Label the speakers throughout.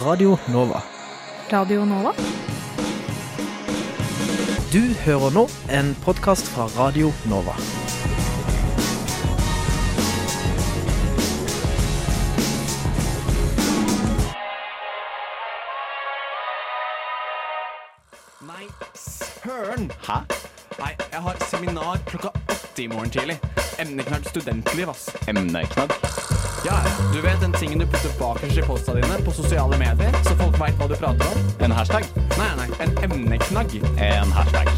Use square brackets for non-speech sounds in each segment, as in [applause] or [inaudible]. Speaker 1: Radio Nova.
Speaker 2: Radio Nova.
Speaker 1: Du hører nå en podkast fra Radio Nova.
Speaker 3: Nei, søren! Hæ? Nei, jeg har seminar klokka åtte i morgen tidlig. Emneknagg studentliv, ass.
Speaker 4: Emneknagg.
Speaker 3: Ja, du vet den tingen du putter bakerst i posta dine på sosiale medier, så folk veit hva du prater om?
Speaker 4: En hashtag.
Speaker 3: Nei, nei, en emneknagg.
Speaker 4: En hashtag.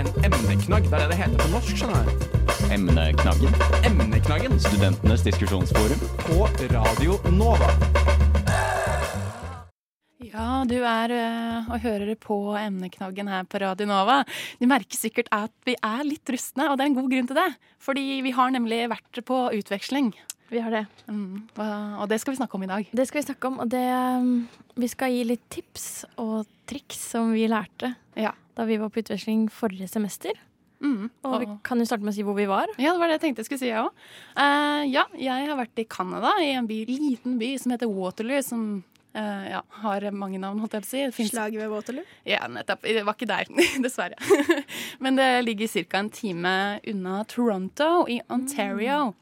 Speaker 3: En emneknagg, det er det det heter på norsk, skjønner du.
Speaker 4: Emneknaggen.
Speaker 3: Emneknaggen
Speaker 4: Studentenes diskusjonsforum.
Speaker 3: på Radio Nova.
Speaker 2: Ja, du er eh, og hører på emneknaggen her på Radio Nova. Du merker sikkert at vi er litt rustne, og det er en god grunn til det. Fordi vi har nemlig vært på utveksling,
Speaker 5: Vi har det.
Speaker 2: Mm, og og det skal vi snakke om i dag.
Speaker 5: Det skal vi snakke om, og det um, Vi skal gi litt tips og triks som vi lærte
Speaker 2: Ja.
Speaker 5: da vi var på utveksling forrige semester.
Speaker 2: Mm,
Speaker 5: Og vi kan jo starte med å si hvor vi var.
Speaker 2: Ja, det var det jeg tenkte jeg skulle si, jeg òg. ja, jeg har vært i Canada, i en by, liten by som heter Waterloo. Som eh, ja, har mange navn, holdt jeg på å si. Det finnes-
Speaker 6: Slaget ved Waterloo.
Speaker 2: Ja, nettopp. Det var ikke der, [laughs] dessverre. [laughs] Men det ligger ca. en time unna Toronto, i
Speaker 6: Mm.
Speaker 2: Ontario.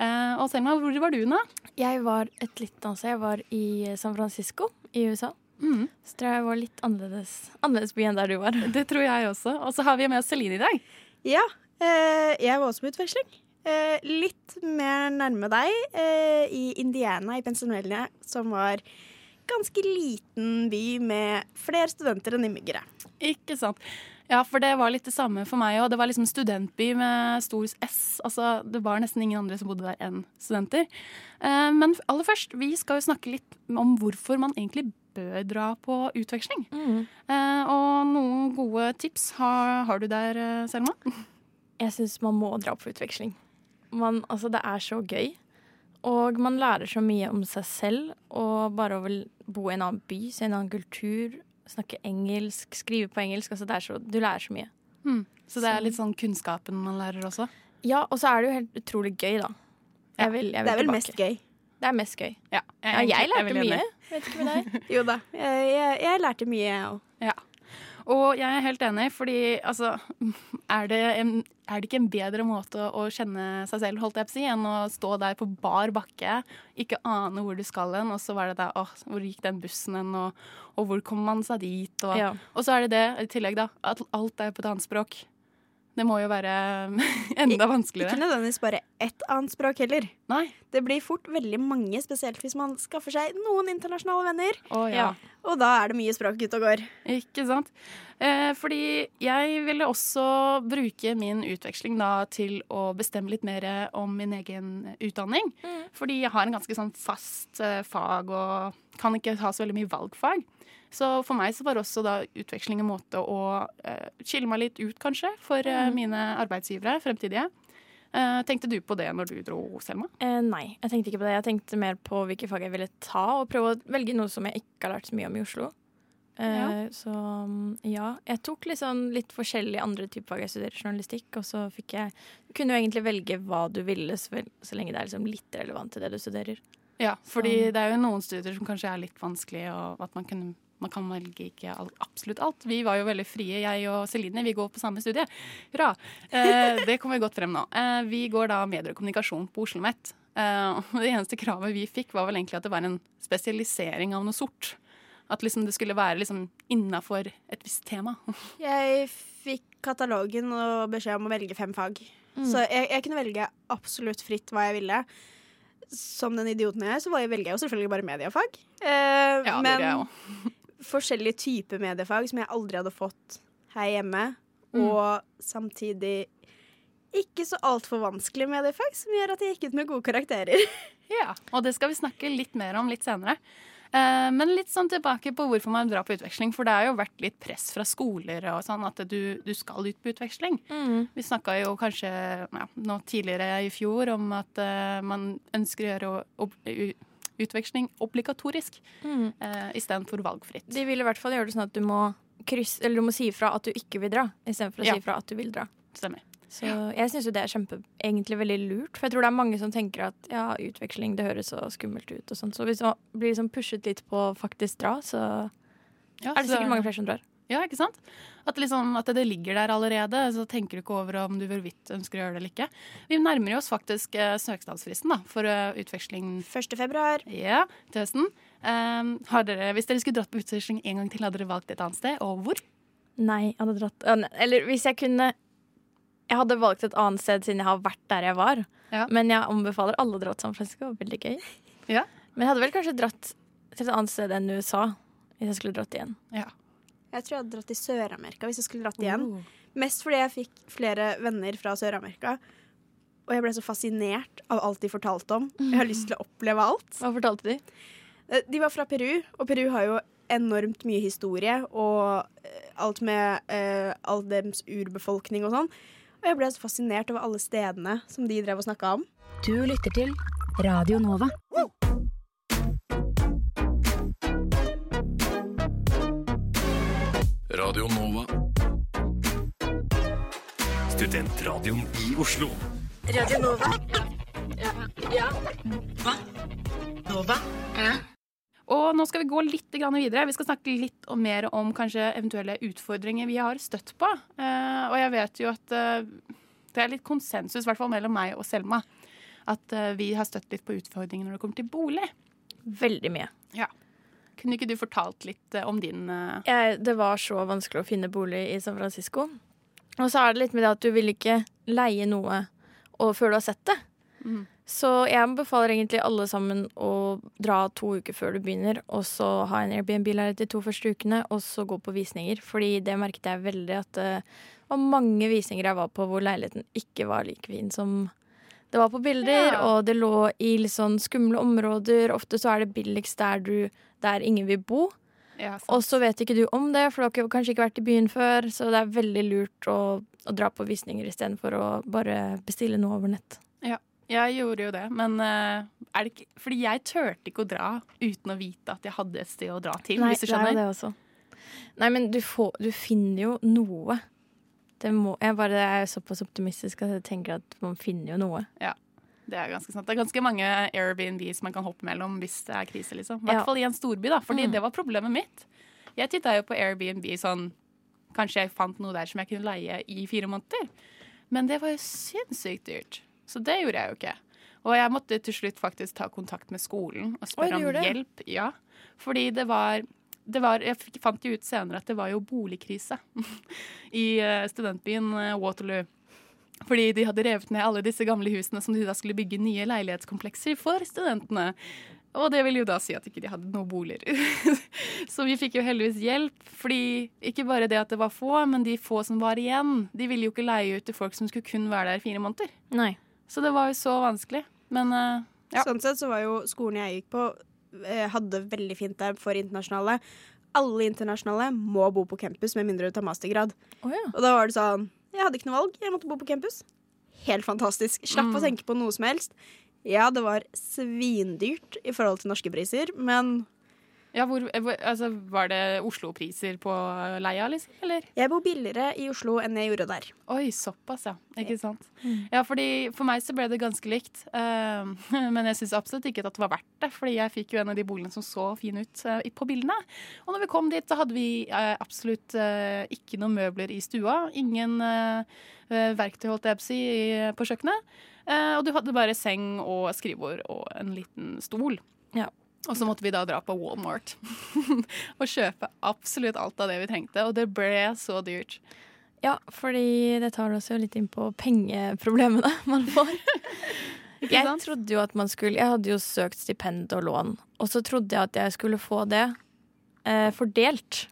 Speaker 2: Eh, og Selma, hvor var du, da?
Speaker 5: Jeg var et litt annet sted. Jeg var i San Francisco i USA.
Speaker 2: Mhm.
Speaker 5: Så tror jeg jeg var litt annerledes, annerledes by enn der du var.
Speaker 2: Det tror jeg også. Og så har vi med oss Celine i dag.
Speaker 6: Ja, eh, jeg var også på utveksling. Eh, litt mer nærme deg, eh, i Indiana i Pennsylvania, som var ganske liten by med flere studenter enn innbyggere.
Speaker 2: Ikke sant. Ja, for det var litt det samme for meg òg. Det var liksom studentby med stor S. Altså, det var nesten ingen andre som bodde der enn studenter. Eh, Men aller først, vi skal jo snakke litt om hvorfor man egentlig bør dra på utveksling.
Speaker 5: Mm.
Speaker 2: Eh, Og noen gode tips har, har du der, eh, Selma?
Speaker 5: Jeg syns man må dra på utveksling. Man, altså, det er så gøy. Og man lærer så mye om seg selv og bare å vel bo i en annen by, se en annen kultur, snakke engelsk, skrive på engelsk. Altså, det er så, du lærer så mye.
Speaker 2: Så det er litt sånn kunnskapen man lærer også.
Speaker 5: Ja, og så er det jo helt utrolig gøy, da.
Speaker 2: Ja,
Speaker 5: Jeg vil, jeg vil
Speaker 6: Det er vel
Speaker 5: tilbake.
Speaker 6: mest gøy.
Speaker 5: Det er mest gøy.
Speaker 2: Ja,
Speaker 5: Ja, jeg
Speaker 2: er
Speaker 5: lærte
Speaker 2: veldig enig.
Speaker 5: mye. Vet ikke med deg.
Speaker 6: Jo da, jeg, jeg, jeg lærte mye, jeg òg.
Speaker 2: Ja. Og jeg er helt enig, fordi altså er det, en, er det ikke en bedre måte å kjenne seg selv, holdt jeg på å si, enn å stå der på bar bakke, ikke ane hvor du skal hen, og så var det der åh, hvor gikk den bussen hen, og, og hvor kom man seg dit, og,
Speaker 5: Ja.
Speaker 2: og så er det det i tillegg, da, at alt er på et annet språk. Det må jo være [laughs] enda
Speaker 6: Ikke
Speaker 2: vanskeligere.
Speaker 6: nødvendigvis bare ett annet språk heller.
Speaker 2: Nei.
Speaker 6: Det blir fort veldig mange, spesielt hvis man skaffer seg noen internasjonale venner.
Speaker 2: Å ja.
Speaker 5: Ja.
Speaker 6: Og da er det mye språk ute og går.
Speaker 2: Ikke sant. Eh, fordi jeg ville også bruke min utveksling da til å bestemme litt mer om min egen utdanning. Fordi jeg har en ganske sånn fast eh, fag og kan ikke ha så veldig mye valgfag. Så for meg så var også da utveksling en måte å eh, skille meg litt ut, kanskje, for eh, mine arbeidsgivere fremtidige. Eh, tenkte du på det når du dro, Selma?
Speaker 5: Eh, nei, jeg tenkte ikke på det. Jeg tenkte mer på hvilke fag jeg ville ta, og prøve å velge noe som jeg ikke har lært så mye om i Oslo. Eh,
Speaker 2: Ja.
Speaker 5: Så mm, ja. Jeg tok litt sånn litt forskjellige andre typer fag. Jeg studerer journalistikk, og så fikk jeg Kunne jo egentlig velge hva du ville, så, vel- så lenge det er liksom litt relevant til det du studerer.
Speaker 2: Ja, fordi
Speaker 5: Så-
Speaker 2: det er jo noen studier som kanskje er litt vanskelig, og at man kan, man kan velge ikke all, absolutt alt. Vi var jo veldig frie, jeg og Celine, vi går på samme studie. Hurra! Eh, det kommer godt frem nå. Eh, vi går da medier og kommunikasjon på Oslo OsloMet. Eh, og det eneste kravet vi fikk, var vel egentlig at det var en spesialisering av noe sort. At liksom det skulle være liksom innafor et visst tema.
Speaker 6: Jeg fikk katalogen og beskjed om å velge fem fag.
Speaker 2: Mm.
Speaker 6: Så jeg, jeg kunne velge absolutt fritt hva jeg ville. Som den idioten jeg er, så var jeg- velger jeg jo selvfølgelig bare mediefag. Eh,
Speaker 2: Ja, det gjorde jeg
Speaker 6: men
Speaker 2: også.
Speaker 6: forskjellige typer mediefag som jeg aldri hadde fått her hjemme.
Speaker 2: Mm.
Speaker 6: Og samtidig ikke så altfor vanskelige mediefag, som gjør at jeg gikk ut med gode karakterer. [laughs]
Speaker 2: Ja, og det skal vi snakke litt mer om litt senere. Eh, Men litt sånn tilbake på hvorfor man drar på utveksling. For det har jo vært litt press fra skoler og sånn at du, du skal ut på utveksling. Vi snakka jo kanskje ja, nå tidligere i fjor om at eh, man ønsker å gjøre o- ob- u- utveksling obligatorisk
Speaker 5: Mm.
Speaker 2: uh, istedenfor valgfritt.
Speaker 5: De vil i hvert fall gjøre det sånn at du må kryss, eller du må si ifra at du ikke vil dra, istedenfor å
Speaker 2: Ja.
Speaker 5: si ifra at du vil dra.
Speaker 2: Stemmer.
Speaker 5: Så jeg syns jo det er kjempe, egentlig veldig lurt, for jeg tror det er mange som tenker at ja, utveksling, det høres så skummelt ut og sånn. Så hvis man blir liksom pushet litt på å faktisk dra, så
Speaker 2: Ja,
Speaker 5: er det
Speaker 2: så-
Speaker 5: sikkert mange flere som drar.
Speaker 2: Ja, ikke sant? At, det liksom, at det ligger der allerede, så tenker du ikke over om du hvorvidt ønsker å gjøre det eller ikke. Vi nærmer oss faktisk eh, søknadsfristen da, for eh, utveksling
Speaker 6: 1. februar.
Speaker 2: ja, til høsten. Um, har dere, hvis dere skulle dratt på utveksling en gang til, hadde dere valgt et annet sted, og hvor?
Speaker 5: Nei, jeg hadde dratt ja, ne- Eller hvis jeg kunne Jeg hadde valgt et annet sted siden jeg har vært der jeg var,
Speaker 2: Ja.
Speaker 5: men jeg anbefaler alle å dra til San Francisco. det var Veldig gøy.
Speaker 2: Ja.
Speaker 5: Men jeg hadde vel kanskje dratt til et annet sted enn USA hvis jeg skulle dratt igjen.
Speaker 6: Jeg tror jeg hadde dratt til Sør-Amerika hvis jeg skulle dratt igjen. Mest fordi jeg fikk flere venner fra Sør-Amerika. Og jeg ble så fascinert av alt de fortalte om. Jeg har lyst til å oppleve alt.
Speaker 5: Hva fortalte de?
Speaker 6: Eh, De var fra Peru, og Peru har jo enormt mye historie og eh, alt med eh, all deres urbefolkning og sånn. Og jeg ble så fascinert over alle stedene som de drev og snakka om.
Speaker 7: Du lytter til Radio Nova.
Speaker 8: Radio Nova. Studentradioen i Oslo.
Speaker 2: Og nå skal vi gå litt grann videre. Vi skal snakke litt om- mer om kanskje eventuelle utfordringer vi har støtt på. Eh, og jeg vet jo at eh, det er litt konsensus, i hvert fall mellom meg og Selma, at eh, vi har støtt litt på utfordringer når det kommer til bolig.
Speaker 5: Veldig mye.
Speaker 2: Kunne ikke du fortalt litt eh, om din eh,
Speaker 5: jeg, det var så vanskelig å finne bolig i San Francisco. Og så er det litt med det at du vil ikke leie noe og før du har sett det.
Speaker 2: Mhm.
Speaker 5: Så jeg anbefaler egentlig alle sammen å dra to uker før du begynner, og så ha en Airbnb-leilighet de to første ukene, og så gå på visninger. Fordi det merket jeg veldig at det var mange visninger jeg var på hvor leiligheten ikke var like fin som det var på bilder,
Speaker 2: Ja.
Speaker 5: og det lå i litt sånn skumle områder. Ofte så er det billigst der, du, der ingen vil bo.
Speaker 2: ja, sant.
Speaker 5: Og så vet ikke du om det, for du har ikke- kanskje ikke vært i byen før. Så det er veldig lurt å, å dra på visninger istedenfor å bare bestille noe over nett.
Speaker 2: Jeg gjorde jo det, men eh, er det ikke, fordi jeg turte ikke å dra uten å vite at jeg hadde et sted å dra til. hvis du
Speaker 5: det er jo
Speaker 2: skjønner.
Speaker 5: det også. Nei, men du, får, du finner jo noe. Det må, jeg, bare, jeg er såpass optimistisk at jeg tenker at man finner jo noe.
Speaker 2: Det. er ganske sant. Det er ganske mange Airbnbs man kan hoppe mellom hvis det er krise. liksom. I hvert
Speaker 5: Ja.
Speaker 2: fall i en storby, da, fordi
Speaker 5: Mm.
Speaker 2: det var problemet mitt. Jeg titta jo på Airbnb sånn Kanskje jeg fant noe der som jeg kunne leie i fire måneder. Men det var jo sinnssykt dyrt, så det gjorde jeg jo ikke. Og jeg måtte til slutt faktisk ta kontakt med skolen og
Speaker 5: Oi, du
Speaker 2: spørre om
Speaker 5: gjorde det?
Speaker 2: hjelp. Ja, fordi det var, det var Jeg fikk- fant jo ut senere at det var jo boligkrise [laughs] i eh, studentbyen eh, Waterloo. Fordi de hadde revet ned alle disse gamle husene som de da skulle bygge nye leilighetskomplekser for studentene. Og det ville jo da si at ikke de hadde noen boliger. [laughs] Så vi fikk jo heldigvis hjelp. Fordi ikke bare det at det var få, men de få som var igjen, de ville jo ikke leie ut til folk som skulle kun være der i fire måneder.
Speaker 5: Nei.
Speaker 2: Så det var jo så vanskelig. Men eh, Ja.
Speaker 6: Sånn sett så var jo skolen jeg gikk på, eh, hadde veldig fint der for internasjonale. Alle internasjonale må bo på campus med mindre du tar mastergrad. Og da var det sånn Jeg hadde ikke noe valg. Jeg måtte bo på campus. Helt fantastisk. Slapp
Speaker 2: Mm.
Speaker 6: å tenke på noe som helst. Ja, det var svindyrt i forhold til norske priser, men
Speaker 2: ja, hvor, eh, hvor, altså, var det Oslo-priser på leia, liksom? Eller?
Speaker 6: jeg bor billigere i Oslo enn jeg gjorde der.
Speaker 2: Oi, såpass, ja. Ikke sant. Ja, fordi For meg så ble det ganske likt. Eh, [laughs] men jeg syns absolutt ikke at det var verdt det, fordi jeg fikk jo en av de boligene som så fin ut eh, på bildene. Og når vi kom dit, så hadde vi eh, absolutt eh, ikke noen møbler i stua. Ingen eh, eh, verktøy, holdt jeg på å si, i- på kjøkkenet. Eh, og du hadde bare seng og skrivebord og en liten stol.
Speaker 5: Ja.
Speaker 2: Og så måtte vi da dra på Walmart [laughs] og kjøpe absolutt alt av det vi trengte. Og det ble så dyrt.
Speaker 5: Ja, fordi det tar oss jo litt inn på pengeproblemene [laughs] man får. jeg
Speaker 2: sant?
Speaker 5: trodde jo at man skulle Jeg hadde jo søkt stipend og lån, og så trodde jeg at jeg skulle få det eh, fordelt.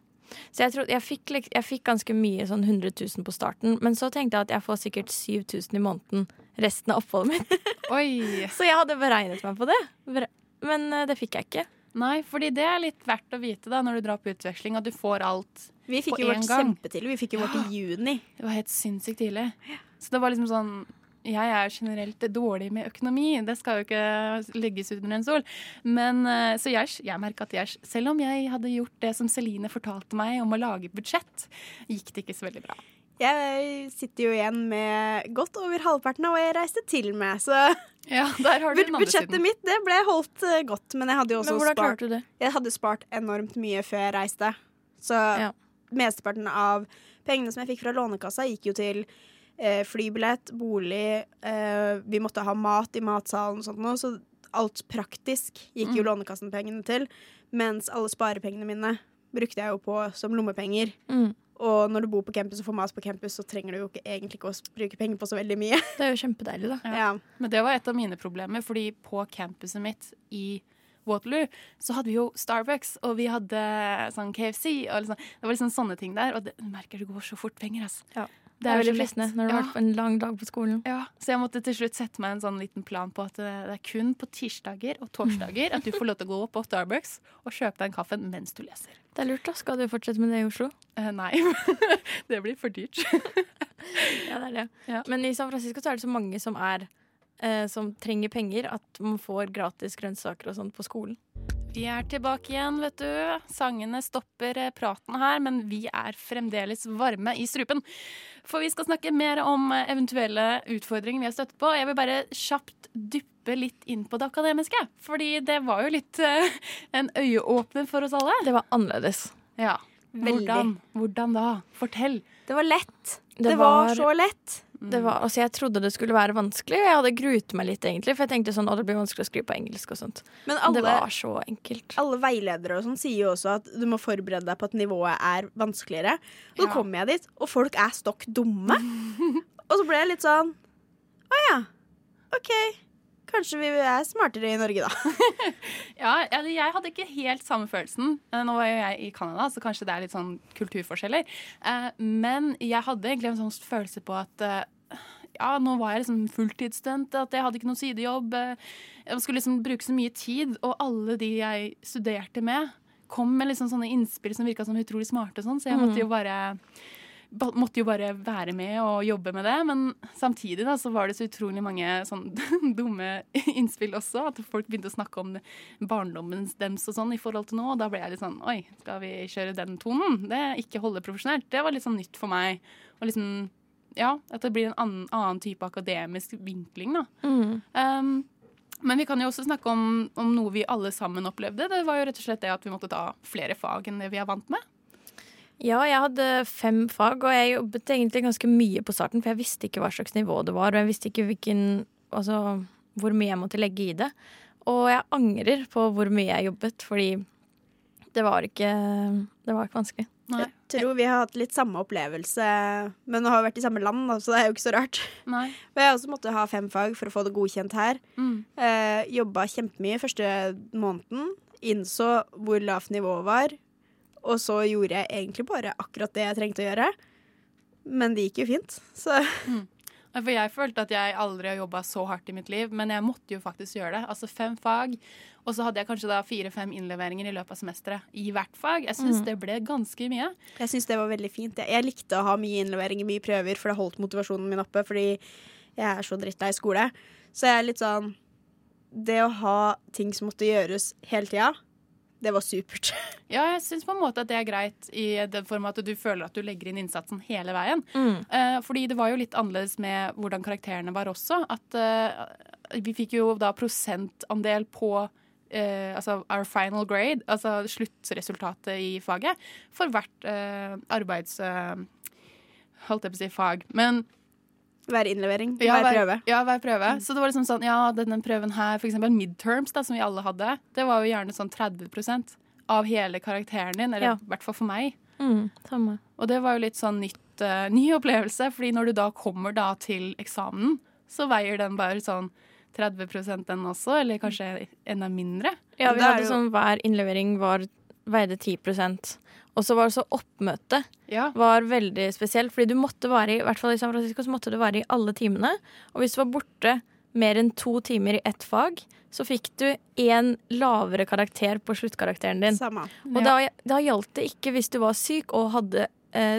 Speaker 5: Så jeg, trodde, jeg, fikk, lik- jeg fikk ganske mye, sånn 100 000 på starten, men så tenkte jeg at jeg får sikkert 7000 i måneden resten av oppholdet mitt. [laughs]
Speaker 2: Oi!
Speaker 5: Så jeg hadde beregnet meg på det, Bere- men eh, det fikk jeg ikke.
Speaker 2: Nei, fordi det er litt verdt å vite da når du drar på utveksling, at du får alt.
Speaker 6: Vi fikk
Speaker 2: På
Speaker 6: jo
Speaker 2: en
Speaker 6: vårt
Speaker 2: gang.
Speaker 6: kjempetil. Vi fikk jo vårt i juni.
Speaker 2: Det var helt sinnssykt tidlig. Så det var liksom sånn Jeg er generelt dårlig med økonomi, det skal jo ikke legges under en stol. Men eh, så jeg, jeg merka at jeg, selv om jeg hadde gjort det som Celine fortalte meg om å lage budsjett, gikk det ikke så veldig bra.
Speaker 6: Jeg sitter jo igjen med godt over halvparten av hva jeg reiste til med. Så
Speaker 2: Ja, der har du den andre
Speaker 6: budsjettet
Speaker 2: siden.
Speaker 6: mitt det ble holdt eh, godt. Men jeg hadde jo
Speaker 5: Men
Speaker 6: også
Speaker 5: hvordan
Speaker 6: spart,
Speaker 5: klarte du det?
Speaker 6: jeg hadde spart enormt mye før jeg reiste. Så
Speaker 5: Ja.
Speaker 6: mesteparten av pengene som jeg fikk fra Lånekassa, gikk jo til eh, flybillett, bolig eh, Vi måtte ha mat i matsalen og sånt noe, så alt praktisk gikk jo Lånekassen pengene til. Mens alle sparepengene mine brukte jeg jo på som lommepenger.
Speaker 5: Mm.
Speaker 6: Og når du bor på campus og får mat på campus, så trenger du jo ikke, egentlig ikke å s- bruke penger på så veldig mye.
Speaker 5: Det er jo kjempedeilig, da.
Speaker 2: Ja.
Speaker 6: [laughs] Ja.
Speaker 2: Men det var et av mine problemer, fordi på campuset mitt i Waterloo så hadde vi jo Starbucks, og vi hadde sånn KFC, og liksom, det var liksom sånne ting der. Og det, du merker det går så fort penger, altså.
Speaker 5: Ja.
Speaker 2: Det
Speaker 5: Det er veldig
Speaker 2: så lett.
Speaker 5: fristende når du har
Speaker 2: ja.
Speaker 5: vært på en lang dag på skolen.
Speaker 2: Ja, Så jeg måtte til slutt sette meg en sånn liten plan på at det det er kun på tirsdager og torsdager at du får lov til å gå på Starbucks og kjøpe deg en kaffe mens du leser.
Speaker 5: Det er lurt, da. Skal du fortsette med det i Oslo?
Speaker 2: Eh, nei, [laughs] det blir for dyrt.
Speaker 5: Ja, det er det.
Speaker 2: Ja.
Speaker 5: Men i San Francisco så er det så mange som er eh, som trenger penger, at man får gratis grønnsaker og sånt på skolen.
Speaker 2: Vi er tilbake igjen, vet du. Sangene stopper eh, praten her, men vi er fremdeles varme i strupen. For vi skal snakke mer om eh, eventuelle utfordringer vi har støtt på. Jeg vil bare kjapt dyppe litt inn på det akademiske. Fordi det var jo litt eh, en øyeåpner for oss alle.
Speaker 5: Det var annerledes.
Speaker 2: Ja.
Speaker 6: Veldig.
Speaker 2: Hvordan, hvordan da? Fortell.
Speaker 6: Det var lett.
Speaker 5: Det
Speaker 6: det var
Speaker 5: var-
Speaker 6: så lett.
Speaker 5: Det var, altså jeg trodde det skulle være vanskelig, og jeg hadde gruet meg litt. egentlig For jeg tenkte sånn, å det blir vanskelig å skrive på engelsk og sånt.
Speaker 6: Men
Speaker 5: Men
Speaker 6: alle,
Speaker 5: Det var så enkelt.
Speaker 6: alle veiledere og sånn sier jo også at du må forberede deg på at nivået er vanskeligere. Og
Speaker 2: Ja.
Speaker 6: så kommer jeg dit, og folk er stokk
Speaker 5: [laughs]
Speaker 6: dumme. og så ble jeg litt sånn Å ja. OK. Kanskje vi er smartere i Norge, da. [laughs]
Speaker 2: Ja, eller jeg hadde ikke helt samme følelsen. Eh, Nå var jo jeg i Canada, så kanskje det er litt sånn kulturforskjeller. Eh, Men jeg hadde egentlig en sånn følelse på at eh, ja, nå var jeg liksom fulltidsstudent, at jeg hadde ikke noen sidejobb. eh, Jeg skulle liksom bruke så mye tid, og alle de jeg studerte med, kom med liksom sånne innspill som virka som utrolig smarte og sånn, så jeg måtte jo bare ba- Måtte jo bare være med og jobbe med det, men samtidig da, så var det så utrolig mange sånn [laughs] dumme innspill også. At folk begynte å snakke om barndommen dems og sånn i forhold til nå. Og da ble jeg litt sånn Oi, skal vi kjøre den tonen? Det er Ikke holde profesjonelt. Det var litt sånn nytt for meg. Og liksom Ja, at det blir en annen, annen type akademisk vinkling, da. Um, men vi kan jo også snakke om, om noe vi alle sammen opplevde. Det var jo rett og slett det at vi måtte ta flere fag enn det vi er vant med.
Speaker 5: Ja, jeg hadde fem fag, og jeg jobbet egentlig ganske mye på starten, for jeg visste ikke hva slags nivå det var, og jeg visste ikke hvilken, altså, hvor mye jeg måtte legge i det. Og jeg angrer på hvor mye jeg jobbet, fordi det var ikke, det var ikke vanskelig.
Speaker 2: Nei.
Speaker 6: Tror vi har hatt litt samme opplevelse, men nå har vi vært i samme land, da, så det er jo ikke så rart.
Speaker 2: Nei.
Speaker 6: Men jeg også måtte ha fem fag for å få det godkjent her.
Speaker 2: Mm.
Speaker 6: Eh, jobba kjempemye første måneden. Innså hvor lavt nivået var. Og så gjorde jeg egentlig bare akkurat det jeg trengte å gjøre. Men det gikk jo fint. Så [laughs]
Speaker 2: Ja, For jeg følte at jeg aldri har jobba så hardt i mitt liv, men jeg måtte jo faktisk gjøre det. Altså fem fag, og så hadde jeg kanskje da fire-fem innleveringer i løpet av semesteret i hvert fag. Jeg syns det ble ganske mye.
Speaker 6: jeg syns det var veldig fint. Jeg, jeg likte å ha mye innleveringer, mye prøver, for det holdt motivasjonen min oppe. Fordi jeg er så drittlei skole. Så jeg er litt sånn Det å ha ting som måtte gjøres hele tida, det var supert. [laughs]
Speaker 2: Ja, jeg syns på en måte at det er greit i den form at du føler at du legger inn innsatsen hele veien. Eh, fordi det var jo litt annerledes med hvordan karakterene var også. At eh, vi fikk jo da prosentandel på eh, altså our final grade, altså sluttresultatet i faget, for hvert eh, arbeids... eh, holdt jeg på å si fag. Men
Speaker 6: Hver innlevering, hver prøve.
Speaker 2: ja, hver prøve. Så det var liksom sånn, ja, denne prøven her, for eksempel midterms, da, som vi alle hadde, det var jo gjerne sånn 30 av hele karakteren din, eller
Speaker 5: Ja.
Speaker 2: i hvert fall for meg.
Speaker 6: Mm,
Speaker 5: samme.
Speaker 2: Og det var jo litt sånn nytt, eh, ny opplevelse, fordi når du da kommer da til eksamen, så veier den bare sånn 30 den også, eller kanskje enda mindre.
Speaker 5: Ja,
Speaker 6: Men
Speaker 5: vi
Speaker 6: det er
Speaker 5: hadde
Speaker 6: jo-
Speaker 5: sånn hver innlevering var, veide 10 og så var det så oppmøte
Speaker 2: Ja.
Speaker 5: var veldig spesiell, fordi du måtte være i, i hvert fall i San Francisco, så måtte du være i alle timene. Og hvis du var borte mer enn to timer i ett fag, så fikk du én lavere karakter på sluttkarakteren din.
Speaker 6: Samme.
Speaker 5: Og da, da gjaldt det ikke hvis du var syk og hadde eh,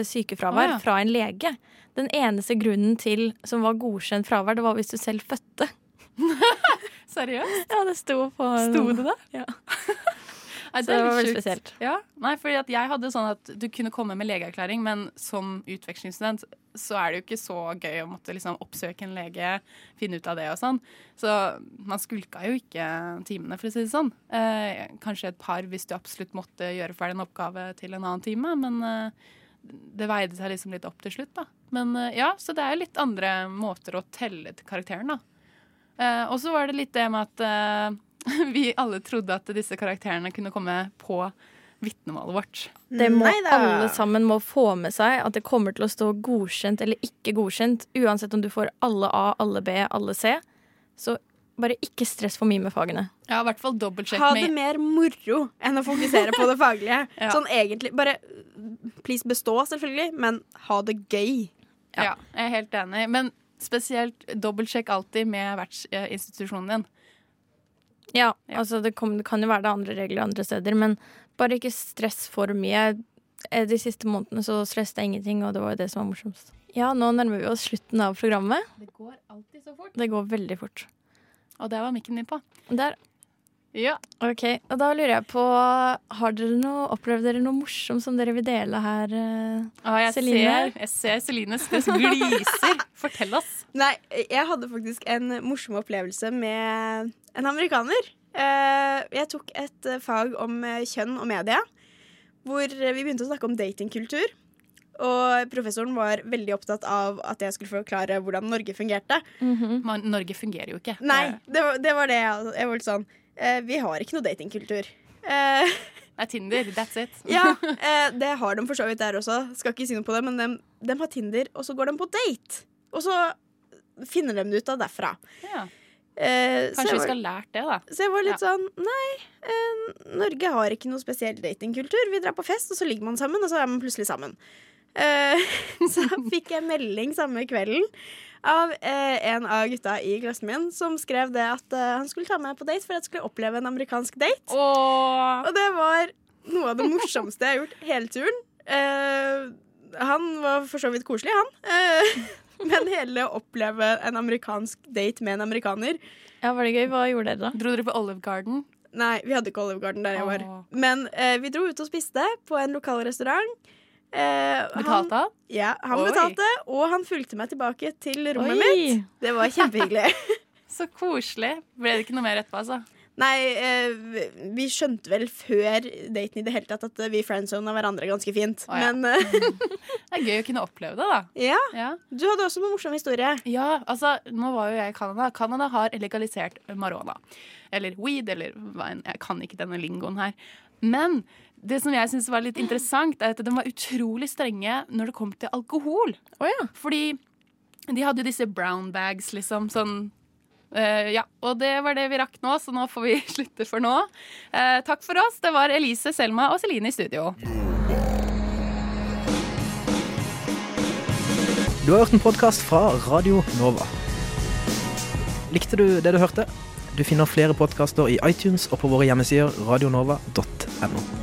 Speaker 2: Å,
Speaker 5: sykefravær
Speaker 2: ja.
Speaker 5: fra en lege. Den eneste grunnen til som var godkjent fravær, det var hvis du selv fødte. [laughs]
Speaker 2: Seriøst?
Speaker 5: Ja, det sto på
Speaker 2: Sto det
Speaker 5: da? Ja.
Speaker 2: Nei, det
Speaker 5: Så det
Speaker 2: er
Speaker 5: var
Speaker 2: litt
Speaker 5: veldig
Speaker 2: sjukt.
Speaker 5: spesielt.
Speaker 2: Ja, nei, fordi at jeg hadde sånn at du kunne komme med legeerklæring, men som utvekslingsstudent så er det jo ikke så gøy å måtte liksom oppsøke en lege, finne ut av det og sånn. Så man skulka jo ikke timene, for å si det sånn. Eh, kanskje et par hvis du absolutt måtte gjøre ferdig en oppgave til en annen time, men eh, det veide seg liksom litt opp til slutt, da. Men eh, ja, så det er jo litt andre måter å telle til karakteren, da. Eh, og så var det litt det med at eh, [laughs] vi alle trodde at disse karakterene kunne komme på vitnemålet vårt.
Speaker 5: Det må
Speaker 6: Neida.
Speaker 5: alle sammen må få med seg at det kommer til å stå godkjent eller ikke godkjent, uansett om du får alle A, alle B, alle C. Så bare ikke stress for mye med fagene.
Speaker 2: Ja, i hvert fall dobbeltsjekk
Speaker 6: Ha det
Speaker 2: med
Speaker 6: mer moro enn å fokusere på det faglige.
Speaker 2: Ja.
Speaker 6: Sånn egentlig Bare mm, please bestå, selvfølgelig, men ha det gøy.
Speaker 2: ja. jeg er helt enig. Men spesielt dobbeltsjekk alltid med vertsinstitusjonen din.
Speaker 5: Ja,
Speaker 2: Ja.
Speaker 5: altså det, kom, det kan jo være det er andre regler andre steder, men bare ikke stress for mye. Eh, De siste månedene så stresset jeg ingenting, og det var jo det som var morsomst. Ja, nå nærmer vi oss slutten av programmet.
Speaker 2: Det går alltid så fort.
Speaker 5: Det går veldig fort.
Speaker 2: Og der var mikken min på.
Speaker 5: Der.
Speaker 2: Ja.
Speaker 5: Ok, og da lurer jeg på, har dere noe, opplevde dere noe morsomt som dere vil dele her? eh?
Speaker 2: Og jeg
Speaker 5: Celine.
Speaker 2: ser, jeg ser Celine stress gliser. [laughs] Fortell oss.
Speaker 6: Nei, jeg hadde faktisk en morsom opplevelse med en amerikaner. Eh, Jeg tok et eh, fag om eh, kjønn og media, hvor eh, vi begynte å snakke om datingkultur. Og professoren var veldig opptatt av at jeg skulle forklare hvordan Norge fungerte.
Speaker 2: Man, Norge fungerer jo ikke.
Speaker 6: Nei, det var det, var det jeg, jeg var litt sånn eh, Vi har ikke noe datingkultur. Eh,
Speaker 2: Det er Tinder. That's it.
Speaker 6: [laughs] ja, eh, det har de for så vidt der også. Skal ikke si noe på det, men de, de har Tinder, og så går de på date. Og så finner de det ut av derfra.
Speaker 2: [laughs] Ja.
Speaker 6: Eh, så
Speaker 2: Kanskje
Speaker 6: jeg
Speaker 2: vi
Speaker 6: var-
Speaker 2: skal ha lært det, da.
Speaker 6: så jeg var litt sånn Nei, eh, Norge har ikke noe spesiell datingkultur. Vi drar på fest, og så ligger man sammen, og så er man plutselig sammen. Eh, [laughs] så fikk jeg melding samme kvelden av eh, en av gutta i klassen min som skrev det at eh, han skulle ta meg på date for at jeg skulle oppleve en amerikansk date.
Speaker 2: Åh.
Speaker 6: Og det var noe av det morsomste jeg har gjort hele turen. Eh, han var for så vidt koselig, han. Eh, men hele å oppleve en amerikansk date med en amerikaner
Speaker 5: Ja, var det gøy? Hva gjorde dere da?
Speaker 2: Dro dere på Olive Garden?
Speaker 6: Nei, vi hadde ikke Olive Garden der jeg var.
Speaker 2: Åh.
Speaker 6: Men eh, vi dro ut og spiste på en lokal restaurant. Eh, han-
Speaker 2: Betalte han?
Speaker 6: Ja, han
Speaker 2: Oi.
Speaker 6: betalte, og han fulgte meg tilbake til rommet
Speaker 5: Oi!
Speaker 6: mitt. Det var kjempehyggelig. [laughs]
Speaker 2: Så koselig. Ble det ikke noe mer etterpå, altså?
Speaker 6: Nei, eh, vi- vi skjønte vel før daten i det hele tatt at eh, vi friendzona hverandre ganske fint.
Speaker 2: Å, ja.
Speaker 6: Men eh,
Speaker 2: Det er gøy å kunne oppleve det, da.
Speaker 6: ja,
Speaker 2: Ja,
Speaker 6: du hadde også noen morsom historie.
Speaker 2: ja altså, nå var jo jeg i Canada. Canada har legalisert marihuana. Eller weed, eller hva enn. Jeg kan ikke denne lingoen her. Men det som jeg syns var litt interessant, er at de var utrolig strenge når det kom til alkohol.
Speaker 5: Å ja.
Speaker 2: Fordi de hadde jo disse brown bags, liksom. Sånn eh, Ja. Og det var det vi rakk nå, så nå får vi [laughs] slutte for nå. Eh, takk for oss. Det var Elise, Selma og Celine i studio.
Speaker 1: Du har hørt en podkast fra Radio Nova. Likte du det du hørte? Du finner flere podkaster i iTunes og på våre hjemmesider radionova.no.